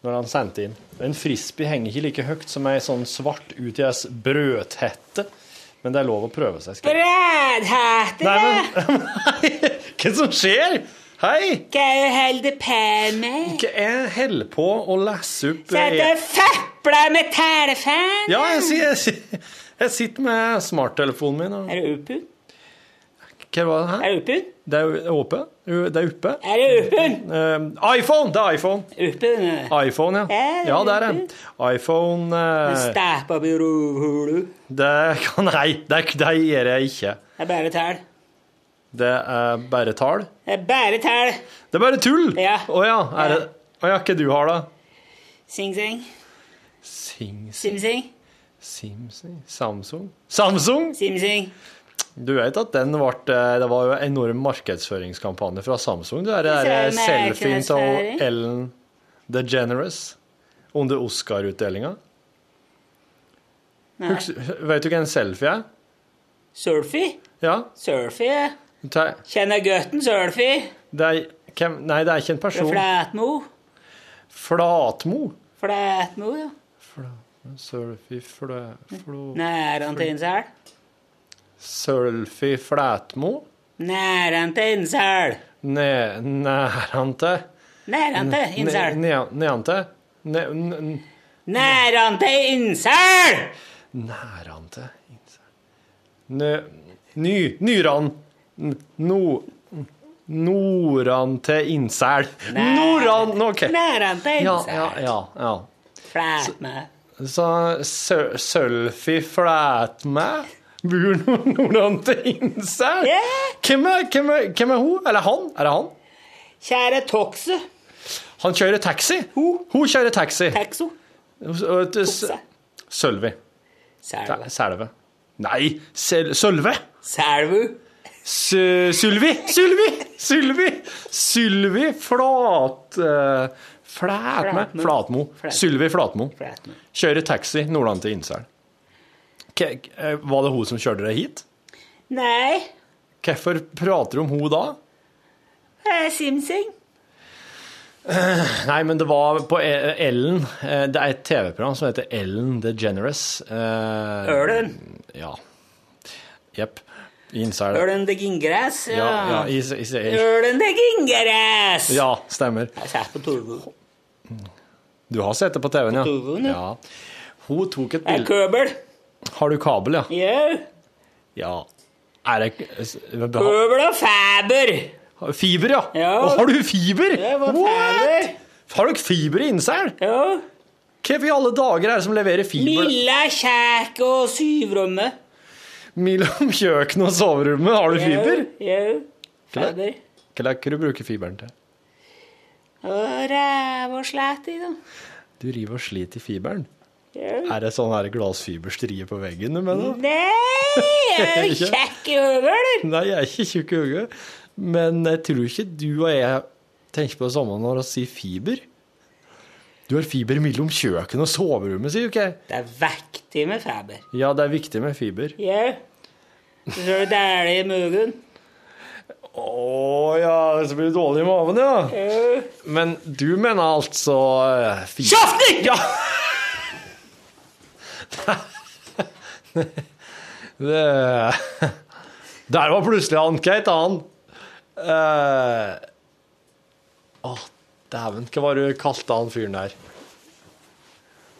når han sendte inn. En frisbee henger ikke like høyt som ei sånn svart UTS brødhette, men det er lov å prøve seg. skriver
Brødhette!
[laughs] han. Hva som skjer? Hei!
Hva er det du holder på med?
Hva Jeg holder på å lese opp eh,
Så du føpler med telefonen?
Ja, jeg, sier- jeg, sier- jeg sitter med smarttelefonen min. Og...
Er det åpen?
Hva var det her?
Er det åpen?
Det er jo åpen. Jo, Det er oppe.
Er det åpen?
Eh, iPhone! Det er iPhone. iPhone, ja.
Er det
Ja, der er den. iPhone eh,
Den stapper opp i rovhulu.
Det kan Nei, det, er- det gjør jeg ikke.
Det er bare tall.
Det er bare tall.
Det er bare tall.
Det er bare tull! Å ja. Er det Å ja, hva du har, da?
Sing-sing.
Sing-sing
Sim-sing.
Simsing Samsung? Samsung!
Simsing.
Du vet at den ble Det var jo en enorm markedsføringskampanje fra Samsung. Det
Så
der
er
er
det
selfien
markedsføring.
av Ellen DeGeneres under Oscar-utdelinga.
Nei.
Huks- Vet du hva en selfie er?
Surfy.
Ja.
Surfy. ja.
Ta-
Kjenner gutten Surfy.
Det er, hvem, nei, det er ikke en
Fra
person.
Flatmo.
Flatmo?
Flatmo, ja.
Surfy flø... flå-
Næran til Innsel.
Sølfi Flætmo?
Næran til Innsel.
Ne, nærante?
Næran til Innsel.
Neante? Ne, ne, ne,
Næran til Innsel!
nærante? Nø, ny, nyran... N- No... Noran til Innsel. Noran! OK.
Næran til
Ja,
Innsel.
ja, ja. ja.
Flatmo.
Så sø- Sølfi Flætmæ bor no- Noran til Innsel? Hvem er, hvem, er, hvem er hun? Eller han? Er det han?
Kjære Toxe.
Han kjører taxi. Hun, kjører taxi.
Taxo.
Sølvi.
Selve.
Nei, Selve. Nei, Sel Sølve.
Selvu.
Sylvi. Sylvi. Sylvi. Sylvi Flat... eh, Flætme.
Flætmo.
Flatmo.
Flætmo.
Sylvi Flatmo.
Flatmo.
Kjører taxi Nordland til Innsel. K eh, var det hun som kjørte deg hit?
Nei.
Hvorfor prater du om hun da?
Eh, Simsing.
Eh, Nei, men det var på E- Ellen eh, Det er et TV-program som heter Ellen DeGeneres. eh,
Ørlen.
Ja. Jepp. Innside.
Ølen det gingeræs.
Ja, ja, i, i, i,
Ølen det gingeræs.
ja, stemmer.
Satt på Torvo.
Du har sett det på TV-en, ja.
TV-en, ja.
ja. Hun tok et
Er
bilde
købel.
Har du kabel, ja?
Jau.
Ja. Er det
Købel og faber.
Fiber, ja. Å, Har du fiber? What? Har dere fiber i Innsel?
Ja.
Hvorfor i alle dager er det som leverer fiber?
Milla, kjæk og syvrommet.
Mellom kjøkkenet og soverommet har du fiber?
Jau.
Hva er
Faber.
Hva er det du bruker fiberen til?
Og ræv og slætt i, da.
Du river og sliter i fiberen.
Jau.
Er det sånn her glassfiberstrie på veggen du mener?
Nei, jeg er jo
Ikke?
kjekk i høvel.
Nei, jeg er ikke tjukk i hodet, men jeg tror ikke du og jeg tenker på det samme når vi sier fiber. Du har fiber mellom kjøkkenet og soverommet, sier du ikke?
Det er vektig med faber.
Ja, det er viktig med fiber.
Jau. Så ser du dælig i mugen.
Å ja, så blir det dårlig i maven, ja.
Jau.
Men du mener altså eh, fiber
Kjaften!
Eh. Ja! [laughs] det Der var plutselig han Kate, han. Eh, Å, dæven. Hva var det du kalte han fyren der?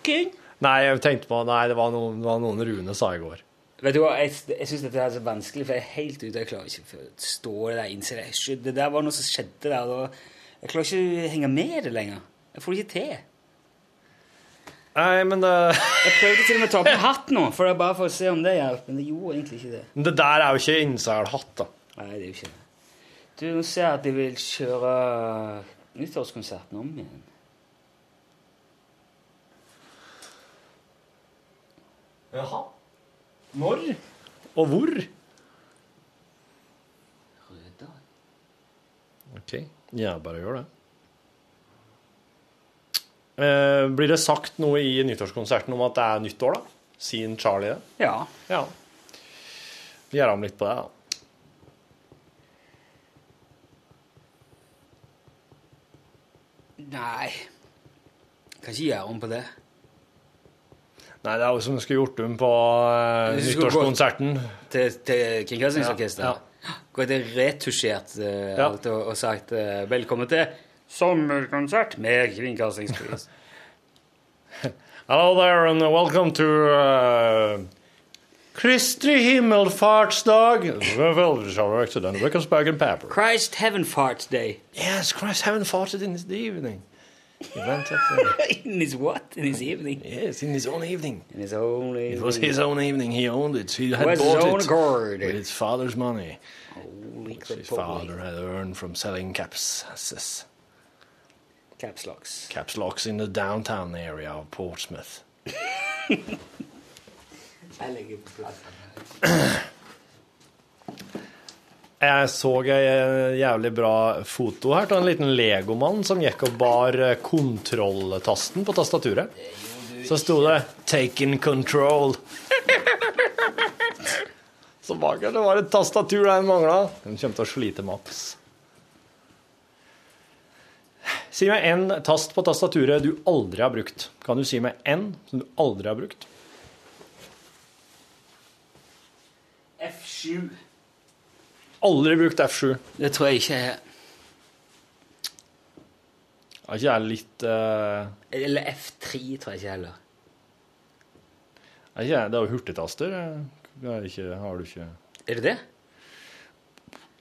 Kun.
Nei, jeg tenkte på Nei, det var noen, det var noen Rune sa i går.
Vet du hva, jeg, jeg syns dette er så vanskelig, for jeg er helt ute. Jeg klarer ikke å forstå det der. innse det. Shit, Det der var noe som skjedde der. og Da Jeg klarer ikke å henge med i det lenger. Jeg får det ikke til.
Nei, men eh, det [laughs]
Jeg prøvde til og med å ta på hatt nå, for det er bare for å se om det hjalp. Men det gjorde egentlig ikke det.
Det der er jo ikke incel-hatt, da.
Nei, det er jo ikke det. Du, nå ser jeg at de vil kjøre nyttårskonserten om igjen.
Jaha. Når? Og hvor?
Rødal.
OK. Ja, bare gjør det. Eh, blir det sagt noe i nyttårskonserten om at det er nyttår, da? Sier Charlie det?
Ja.
Ja. Vi gjør om litt på det, da.
Nei. Kan ikke gjøre om på det.
Nei, det er jo som du skulle gjort om på eh,
Hvis du skulle gå-
nyttårskonserten.
Til, til Kringkastingsorkesteret? Gått og retusjert eh,
Ja.
alt og, og sagt eh, 'velkommen til sommerkonsert med kringkastingspris'.
Hello there, and welcome to uh, Kristi himmelfartsdag. Veldig sjarmerende til den. Rickens Bag and Pepper.
[laughs] Christ Heaven Farts Day.
Yes, Christ Heaven farted in the evening. He went up
[laughs] in his what? In his evening?
Yes, in his own evening.
In his own evening.
It was his own evening. He owned it. He had
Was his
bought
own
it
accord.
with his father's money,
Holy
which his
Chipotle.
father had earned from selling caps. s-
Caps locks.
Caps locks in the downtown area of Portsmouth.
Jeg legger på plass.
Jeg så ei jævlig bra foto her av en liten legomann som gikk og bar kontrolltasten på tastaturet. Så sto det 'Taken control'. Så bak her det var et tastatur der den mangla. Den kommer til å slite maks. Si meg én tast på tastaturet du aldri har brukt. Kan du si meg én som du aldri har brukt?
F7.
Aldri brukt F7.
Det tror jeg ikke er
Er ikke jeg litt eh,
Eller F3 tror jeg ikke heller.
Er ikke jeg, det er jo hurtigtaster. Det er ikke, har du ikke
Er det det?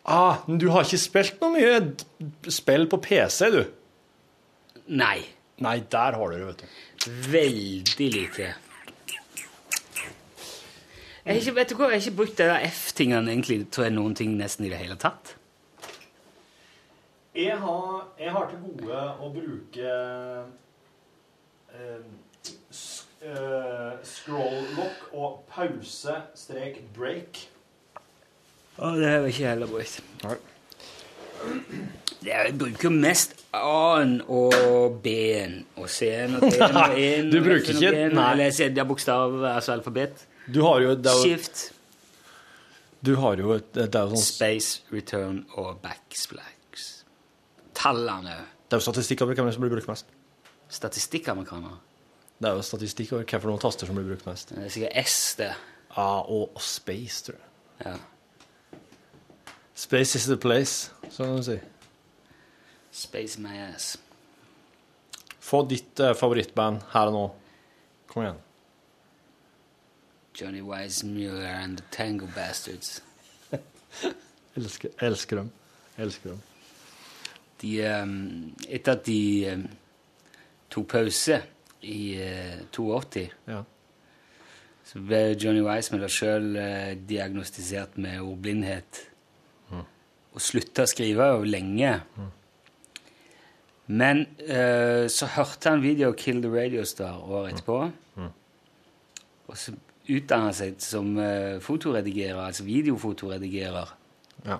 Ah, men du har ikke spilt noe mye d- spill på PC, du?
Nei.
Nei, der har du det, vet du.
Veldig lite. Jeg har ikke, vet du hva, jeg har ikke brukt det der F-tingene egentlig, tror jeg, noen ting nesten i det hele tatt.
Jeg har, jeg har til gode å bruke eh, scroll lock og pause strek break.
Å, det har jeg ikke heller brukt. Det er, jeg bruker mest A-en og B-en og C-en og T-en og
[laughs]
E-en.
Du
og
bruker
F-en og
ikke-
G-en,
nei.
Eller jeg det er bokstav, altså alfabet.
Du har jo, det er jo,
Shift,
du har jo et, det er jo sånn
space, return og backsplash. Tallene.
Det er jo statistikk over hvem som blir brukt mest.
Statistikkamerikanere.
Det er jo statistikk over hva for noen taster som blir brukt mest.
Det er sikkert S, det.
A og space, tror jeg.
Ja.
Space is the place, som de sier.
Space my ass.
Få ditt eh, favorittband her og nå. Kom igjen.
Johnny Weissmuller and the Tango Bastards.
[laughs] Elsker, elsker dem. Elsker dem.
De, ehm, etter at de ehm, tok pause i eh, 82,
Ja.
så ble Johnny Weissmuller sjøl eh, diagnostisert med ordblindhet.
Mm.
Mhm.
Og slutta å skrive jo lenge. Men eh, så hørte han video 'Kill the Radio Star' året etterpå.
Mm.
Mhm.
Og så utdanna han seg som eh, fotoredigerer, altså videofotoredigerer.
Ja.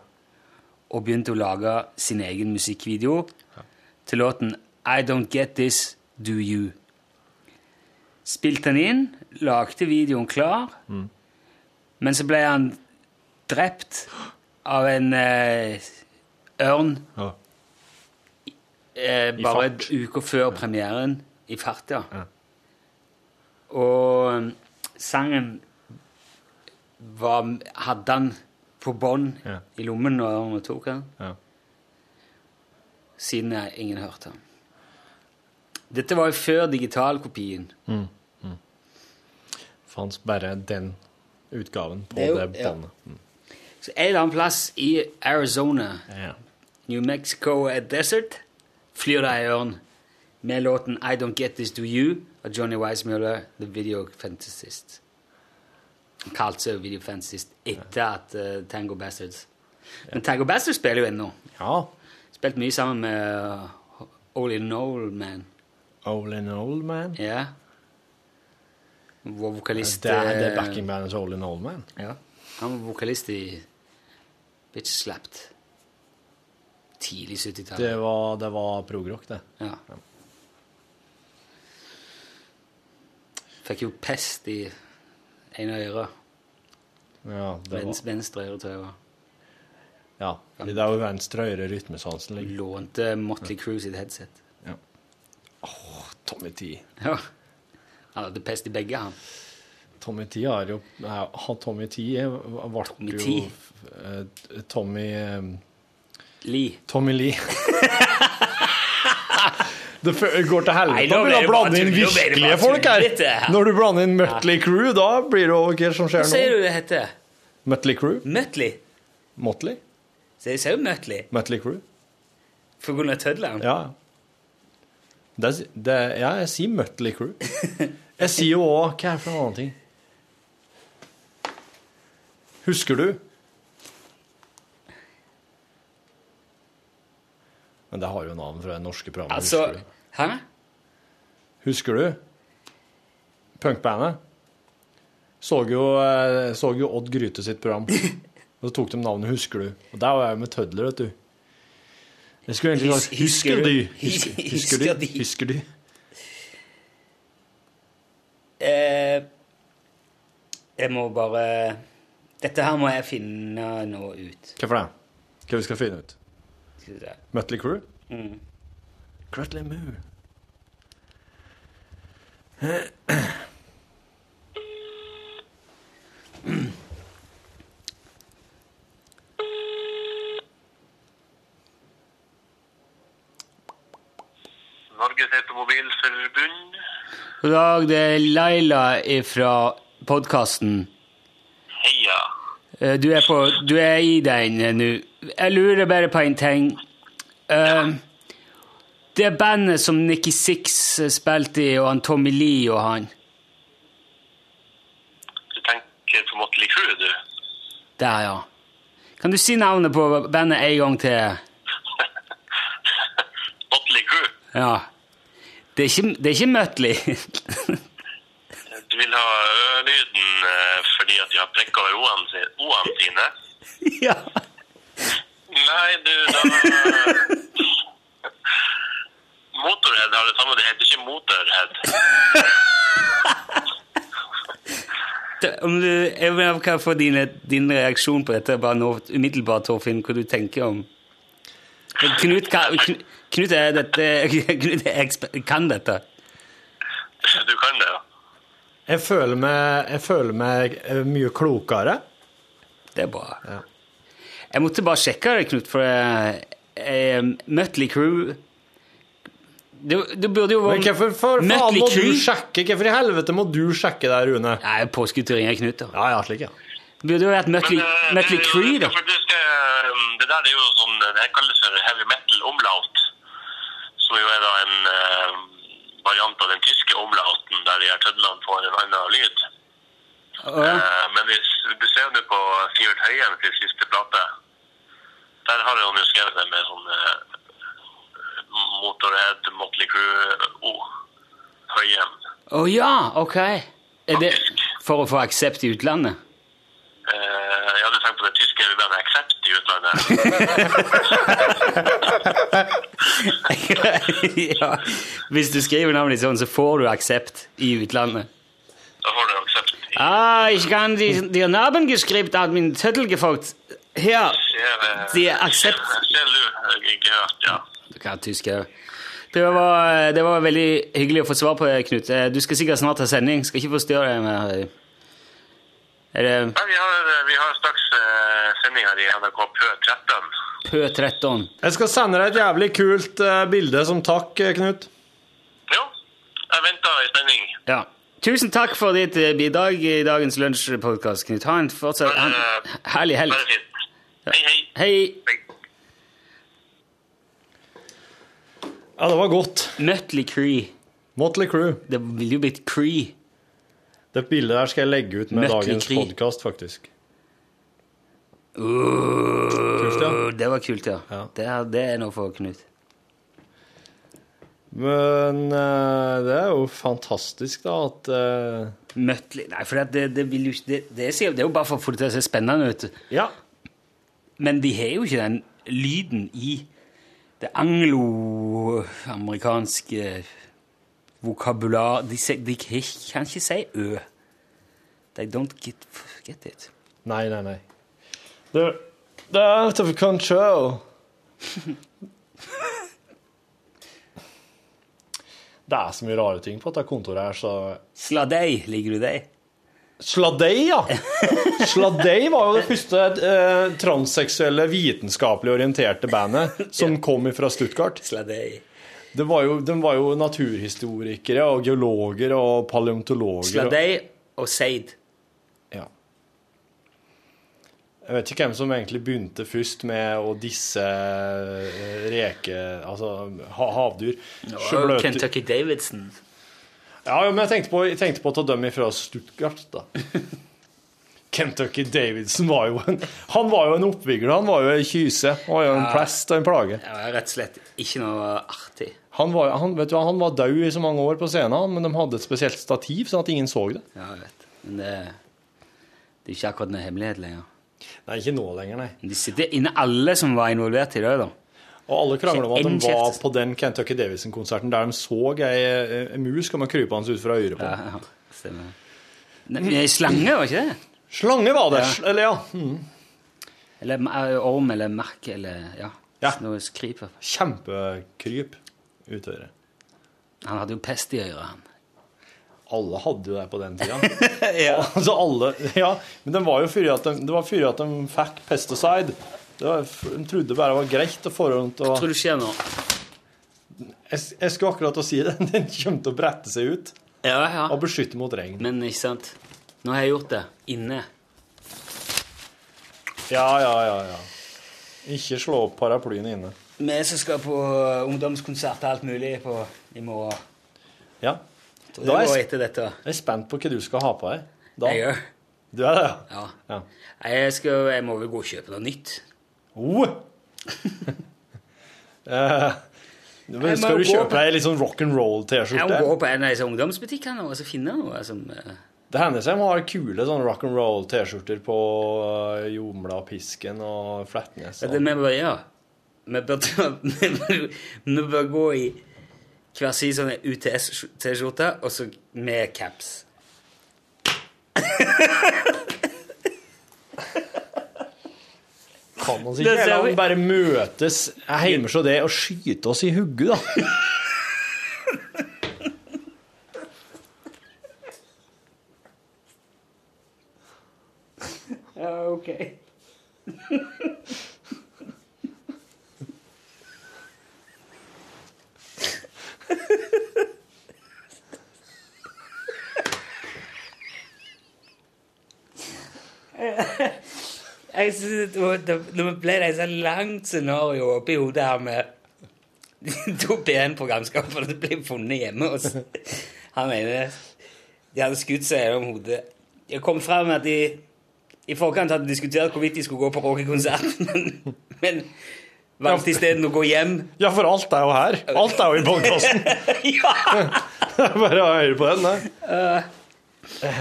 Og begynte å lage sin egen musikkvideo til låten I Don't Get This, Do You. Spilte han inn, lagde videoen klar,
Mm.
men så ble han drept av en eh, ørn
Ja.
eh,
I
bare
fart.
uker før premieren. I fart, ja. Og um, sangen var, hadde han på bånd i lommen når ørnen tok han.
Ja.
Siden jeg, ingen hørte han. Dette var jo før digitalkopien.
Mm. Mm. Fanns bare den utgaven på
Det
det,
er jo- ja.
båndet. Mm.
Så en eller annen plass i Arizona, New Mexico eh, Desert, Flyr deg i ørn med låten I Don't Get This To You av Johnny Weissmuller, The Video Fantasist. Han kalte seg jo Video Fantasist etter at eh, Tango Bastards. Men Tango Bastards spiller jo ennå.
Ja.
Spilt mye sammen med uh, Olin Nolman.
Olin Oldman?
Ja. Vår vokalist
Det er det
eh,
backingbandet til Olin Oldman.
Ja. Han var vokalist i Bitch Slapped. Tidlig 70-tallet.
Det var, det var progrock, det.
Ja. Fikk jo pest i ene øret.
Ja, det var.
Venstre, venstre øre, tror jeg. det var.
Ja, fordi det er jo venstre øre rytmesansen liksom. ligger.
Lånte Motley Crue sitt headset. [laughs]
Ja. Åh, Tommy T.
Ja. Han hadde pest i begge, han.
Tommy T har jo nei, han Tommy T ble
Tommy
jo
T.
eh, Tommy
Lee.
Tommy Lee. [laughs] det fø- går til
Nei,
helvete
nå
når
ble det
du blander
bare
inn
tull, nå ble det
virkelige
bare
folk her.
tull, dette her.
Når du blander inn Mutley Crew, da blir det jo hva som
Hva
skjer
sier
nå.
du det heter?
Mutley Crew?
Mutley?
Motley?
Så jeg sier jo Mutley.
Mutley Crew?
For Gunnar Tødland.
Ja. Det, er- det, er- ja, jeg sier Mutley
[laughs]
Crew. Jeg sier jo òg Hva er det for en annen ting? Husker du? Men det har jo navn fra det norske programmet.
Altså
Husker du?
Hæ?
Husker du? Punkbandet. Så jo, eh, så jo Odd Gryte sitt
[laughs]
program. Og så tok de navnet Husker du. Og der var jeg med tødler, vet du. Jeg skulle egentlig sagt
Hus- husker
Husker
du?
du? Husker, husker
Husker
du? Husker du?
Eh, jeg må bare Dette her må jeg finne nå ut.
Hva for det? Hva vi skal finne ut?
Skal vi se.
Mutley Crew?
Mm.
Crutley Moo.
Norges Automobilforbund.
God dag, det er Laila fra podkasten.
Heia.
Eh, Du er, på, du er i den eh, nå. Jeg lurer bare på en ting. Eh, det bandet som Nikki Six eh, spilte i, og han Tommy Lee og han
Du tenker på Motley Crue, du?
Der, ja. Kan du si navnet på bandet en gang til?
[laughs] Motley Crue?
Ja. Det er ikke, det er ikke Mutley. [laughs]
Du vil ha ø-lyden eh, fordi at de har prekka over o-en si- o-en sine?
ja.
Nei, du, da eh, [laughs] Motorhead har det samme, det heter ikke Motorhead.
Det- Om du, jeg vil kan jeg få dine, din reaksjon på dette bare nå, umiddelbart, Torfinn, hva du tenker om Men Knut, kan, Knu- Knut, er dette, [laughs] Knut er eksper- kan dette.
Du kan det, ja.
Jeg føler meg, jeg føler meg eh, mye klokere.
Det er bra. Jeg måtte bare sjekke det, Knut, for jeg, jeg, Mutley Crew det, det burde jo
Men
være
hvorfor for faen
Mötley
må du
Crue?
sjekke? Hvorfor i helvete må du sjekke der, Rune?
Nei, påskudd til ringer Knut, da.
Ja, ja, slik, ja.
burde jo vært Mutley,
eh,
Mutley
det-
Crew, da.
For det, skal, det der er jo sånn Det her kalles for heavy metal omlaut. Som jo er da en eh, variant av den tyske omlauten, der de her tødlene får en annen lyd. Eh, men hvis du ser nå på Sivert Høyen sin siste plate, der har han jo skrevet det med sånn eh, Motorhead, Motley oh, Crew, O. Høyen.
Å ja, ok. Er det for å få aksept i utlandet?
Eh, jeg hadde tenkt på det tyske bandet Accept i utlandet.
[laughs] ja. Hvis du skriver navnet ditt sånn, så får du aksept i utlandet.
Da får du aksept.
Ah, ich kann die, die Namen geschrieben, hat min Zettel gefolgt. Her.
eh,
Die Accept. Du kan tysk òg. Det var, eh, det var veldig hyggelig å få svar på det, Knut. Eh, Du skal sikkert snart ha sending. Skal ikke forstyrre deg mer. Er det
Nei, vi har, vi har straks eh, sending her i NRK Pø 13.
Pø 13?
Jeg skal sende deg et jævlig kult eh, bilde som takk, eh, Knut.
Jeg venter i spenning.
Ja. Tusen takk for ditt eh, bidrag i dagens lunsjpodkast, Knut. Ha en fortsatt ha en herlig helg. Hei, hei.
Ja, det var godt.
Nutley Cree.
Motley Crew.
Det ville jo blitt Cree.
Det bildet der skal jeg legge ut med
Mutley
dagens
Crüe.
podkast, faktisk.
Kult,
ja.
Det var kult, ja. Det, er, det er noe for Knut.
Men eh, det er jo fantastisk, da, at eh,
Møtli Nei, for det, det, vil jo ikke det, det, er, sikkert- det er jo bare for å få det til å se spennende ut.
Ja.
Men de har jo ikke den lyden i det angloamerikanske eh, vokabular De, se- de kan ikke- kan ikke si ø. They don't get, get it.
Nei, nei, nei. They're, they're out of control. [laughs] det er så mye rare ting på dette kontoret her, så
Sladei, ligger du deg?
Sladei, ja! Sladei var jo det første eh, transseksuelle, vitenskapelig orienterte bandet som kom fra Stuttgart.
Sladei.
Det var jo, de var jo naturhistorikere og geologer og paleontologer.
Sladei og seid.
Ja. Jeg vet ikke hvem som egentlig begynte først med å disse eh, reke... Altså ha havdyr.
Og
Sjøbløter.
Kentucky Davidson.
Ja, ja, men jeg tenkte på, jeg tenkte på å ta dem ifra Stuttgart, da. Kentucky Davidson var jo en Han var jo en oppvigler, han var jo ei kyse. Han var jo en
Ja.
plest og en plage.
Det var rett og slett ikke noe artig.
Han var, han, vet du, hva, han var død i så mange år på scenen, han, men de hadde et spesielt stativ, sånn at ingen så det.
Ja, jeg vet. Men det, det er ikke akkurat noe hemmelighet lenger.
Nei, ikke nå lenger, nei.
De sitter inne alle som var involvert i det, da.
Og alle krangler om at
Ikke en
de var
kjeft.
på den Kentucky Davidson-konserten der de så ei, ei mus komme krypende ut fra øret på.
Ja, ja, stemmer. Nei, men det er slange, var ikke det?
Slange var det, eller ja. Mm.
Eller eh, orm eller merk eller ja. Noe skrip. i hvert fall.
Kjempekryp ut øret.
Han hadde jo pest i øret, han.
Alle hadde jo det på den
[laughs]
tida. altså alle, ja, men den var jo fyrig at de, det var fyrig at de fikk pesticide. Det var, de trodde bare det var greit å få rundt og
Hva tror du skjer nå?
jeg, jeg skulle akkurat til å si det. [laughs] Den kommer til å brette seg ut
Ja, ja.
og beskytte mot regn.
Men ikke sant? Nå har jeg gjort det. Inne.
Ja, ja, ja. ja. Ikke slå opp paraplyen inne.
Vi som skal på ungdomskonsert og alt mulig på, i morgen.
Ja.
Da
Da er
går
jeg-
etter dette.
Jeg er spent på hva du skal ha på deg. Da.
Jeg gjør.
Du er det?
Ja.
Ja.
Jeg, skal, jeg må vel gå og kjøpe noe nytt. [laughs]
Oh. Eh, men
Jeg må
skal du
gå
kjøpe
på-
deg litt sånn rock'n'roll-T-skjorte?
Jeg må gå på en av disse ungdomsbutikkene og så finne noe som eh,
Det hender seg de har kule sånn rock'n'roll-T-skjorter på eh, Jomla og Pisken og Flatnes.
Det vi bør gjøre. Vi bør, ta- [laughs] vi bør, vi bør gå i hver sin sånn UTS-T-skjorte, og så med caps.
Kan man
Det
ikke
ser
la
vi.
dem bare møtes hjemme hos det og skyte oss i hugget, da?
Ja, ok. Jeg synes det var- det- Når vi ble det et sånt langt scenario oppi hodet her med [laughs] de to PN-programskaperne som ble funnet hjemme hos [laughs] Han ene De hadde skutt seg gjennom hodet. Det kom frem at de i forkant hadde de diskutert hvorvidt de skulle gå på rockekonsert, [laughs] men, men valgte isteden å gå hjem. [laughs]
Ja, for alt er jo her. Alt er jo i podkasten. [laughs] bare å høre på den, det.
Eh,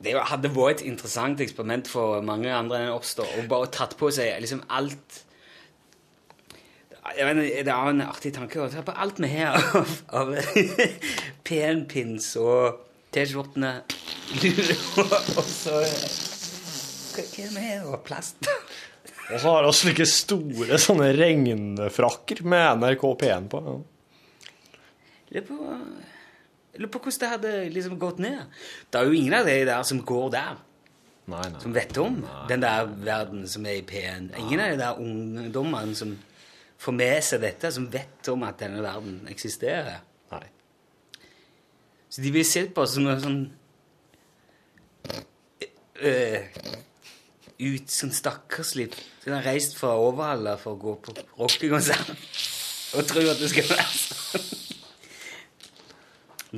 Det var- hadde vært et interessant eksperiment for mange andre enn oss, da, og bare tatt på seg liksom alt jeg vet, ikke, Det er en artig tanke å ta på alt vi har av, av [laughs] PN-pins og T-skjortene [laughs] Og så Hva hva er det vi har, da? Plast?
[laughs] Og så har vi slike store sånne regnfrakker med NRK P1 på. Ja.
Lurer på, lurer på hvordan det hadde liksom gått ned. Det er jo ingen av de der som går der,
Nei, nei.
som vet om den der verden som er i P1. Ingen av de der ungdommene som får med seg dette, som vet om at denne verden eksisterer.
Nei.
Så de blir sett på som noe sånn eh, ut som stakkarslig. Så de har reist fra Overhalla for å gå på rockekonsert. og tro at det skal være sånn.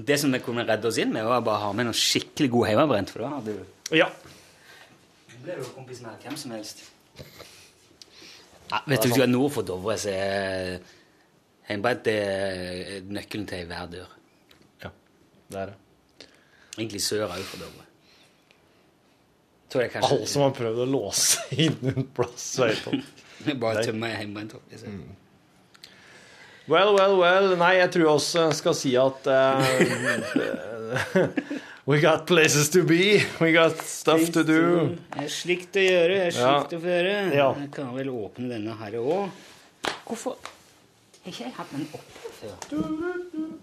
Det som vi kunne redde oss inn med, var bare å ha med noe skikkelig god hjemmebrent. For da hadde du
Ja.
ble du kompis med hvem som helst. sånn- Ja, vet du, hvis du er nord for Dovre, så er hjemmebrent det er nøkkelen til hver dør.
Ja, det er det.
Egentlig sør òg for Dovre. Tror jeg kanskje
Alle som har prøvd å låse [laughs] inn en plass, vet du.
[laughs] Bare tømmer hjemmebrent opp. Liksom.
Well, well, well. Nei, jeg tror oss eh, skal si at eh, We got places to be. We got stuff to do.
Det er slikt å gjøre, det er
Ja.
slikt å føre.
Ja.
Jeg kan vel åpne denne her òg. Hvorfor har ikke jeg hatt den oppe før?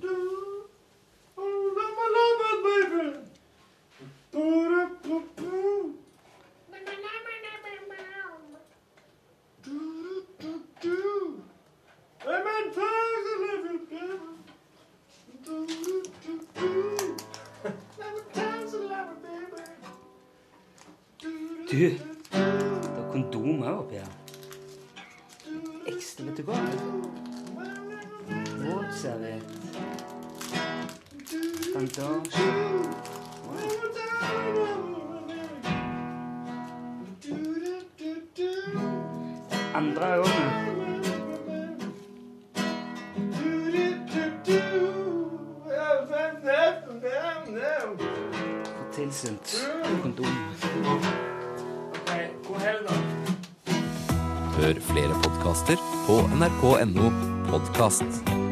Du, det er kondom òg oppi her. Ekstra, vet du hva? Våtserviett. Bandasje. Wow. Andre gangen. Tilsendt kondom.
Hør flere podkaster på nrk.no podkast.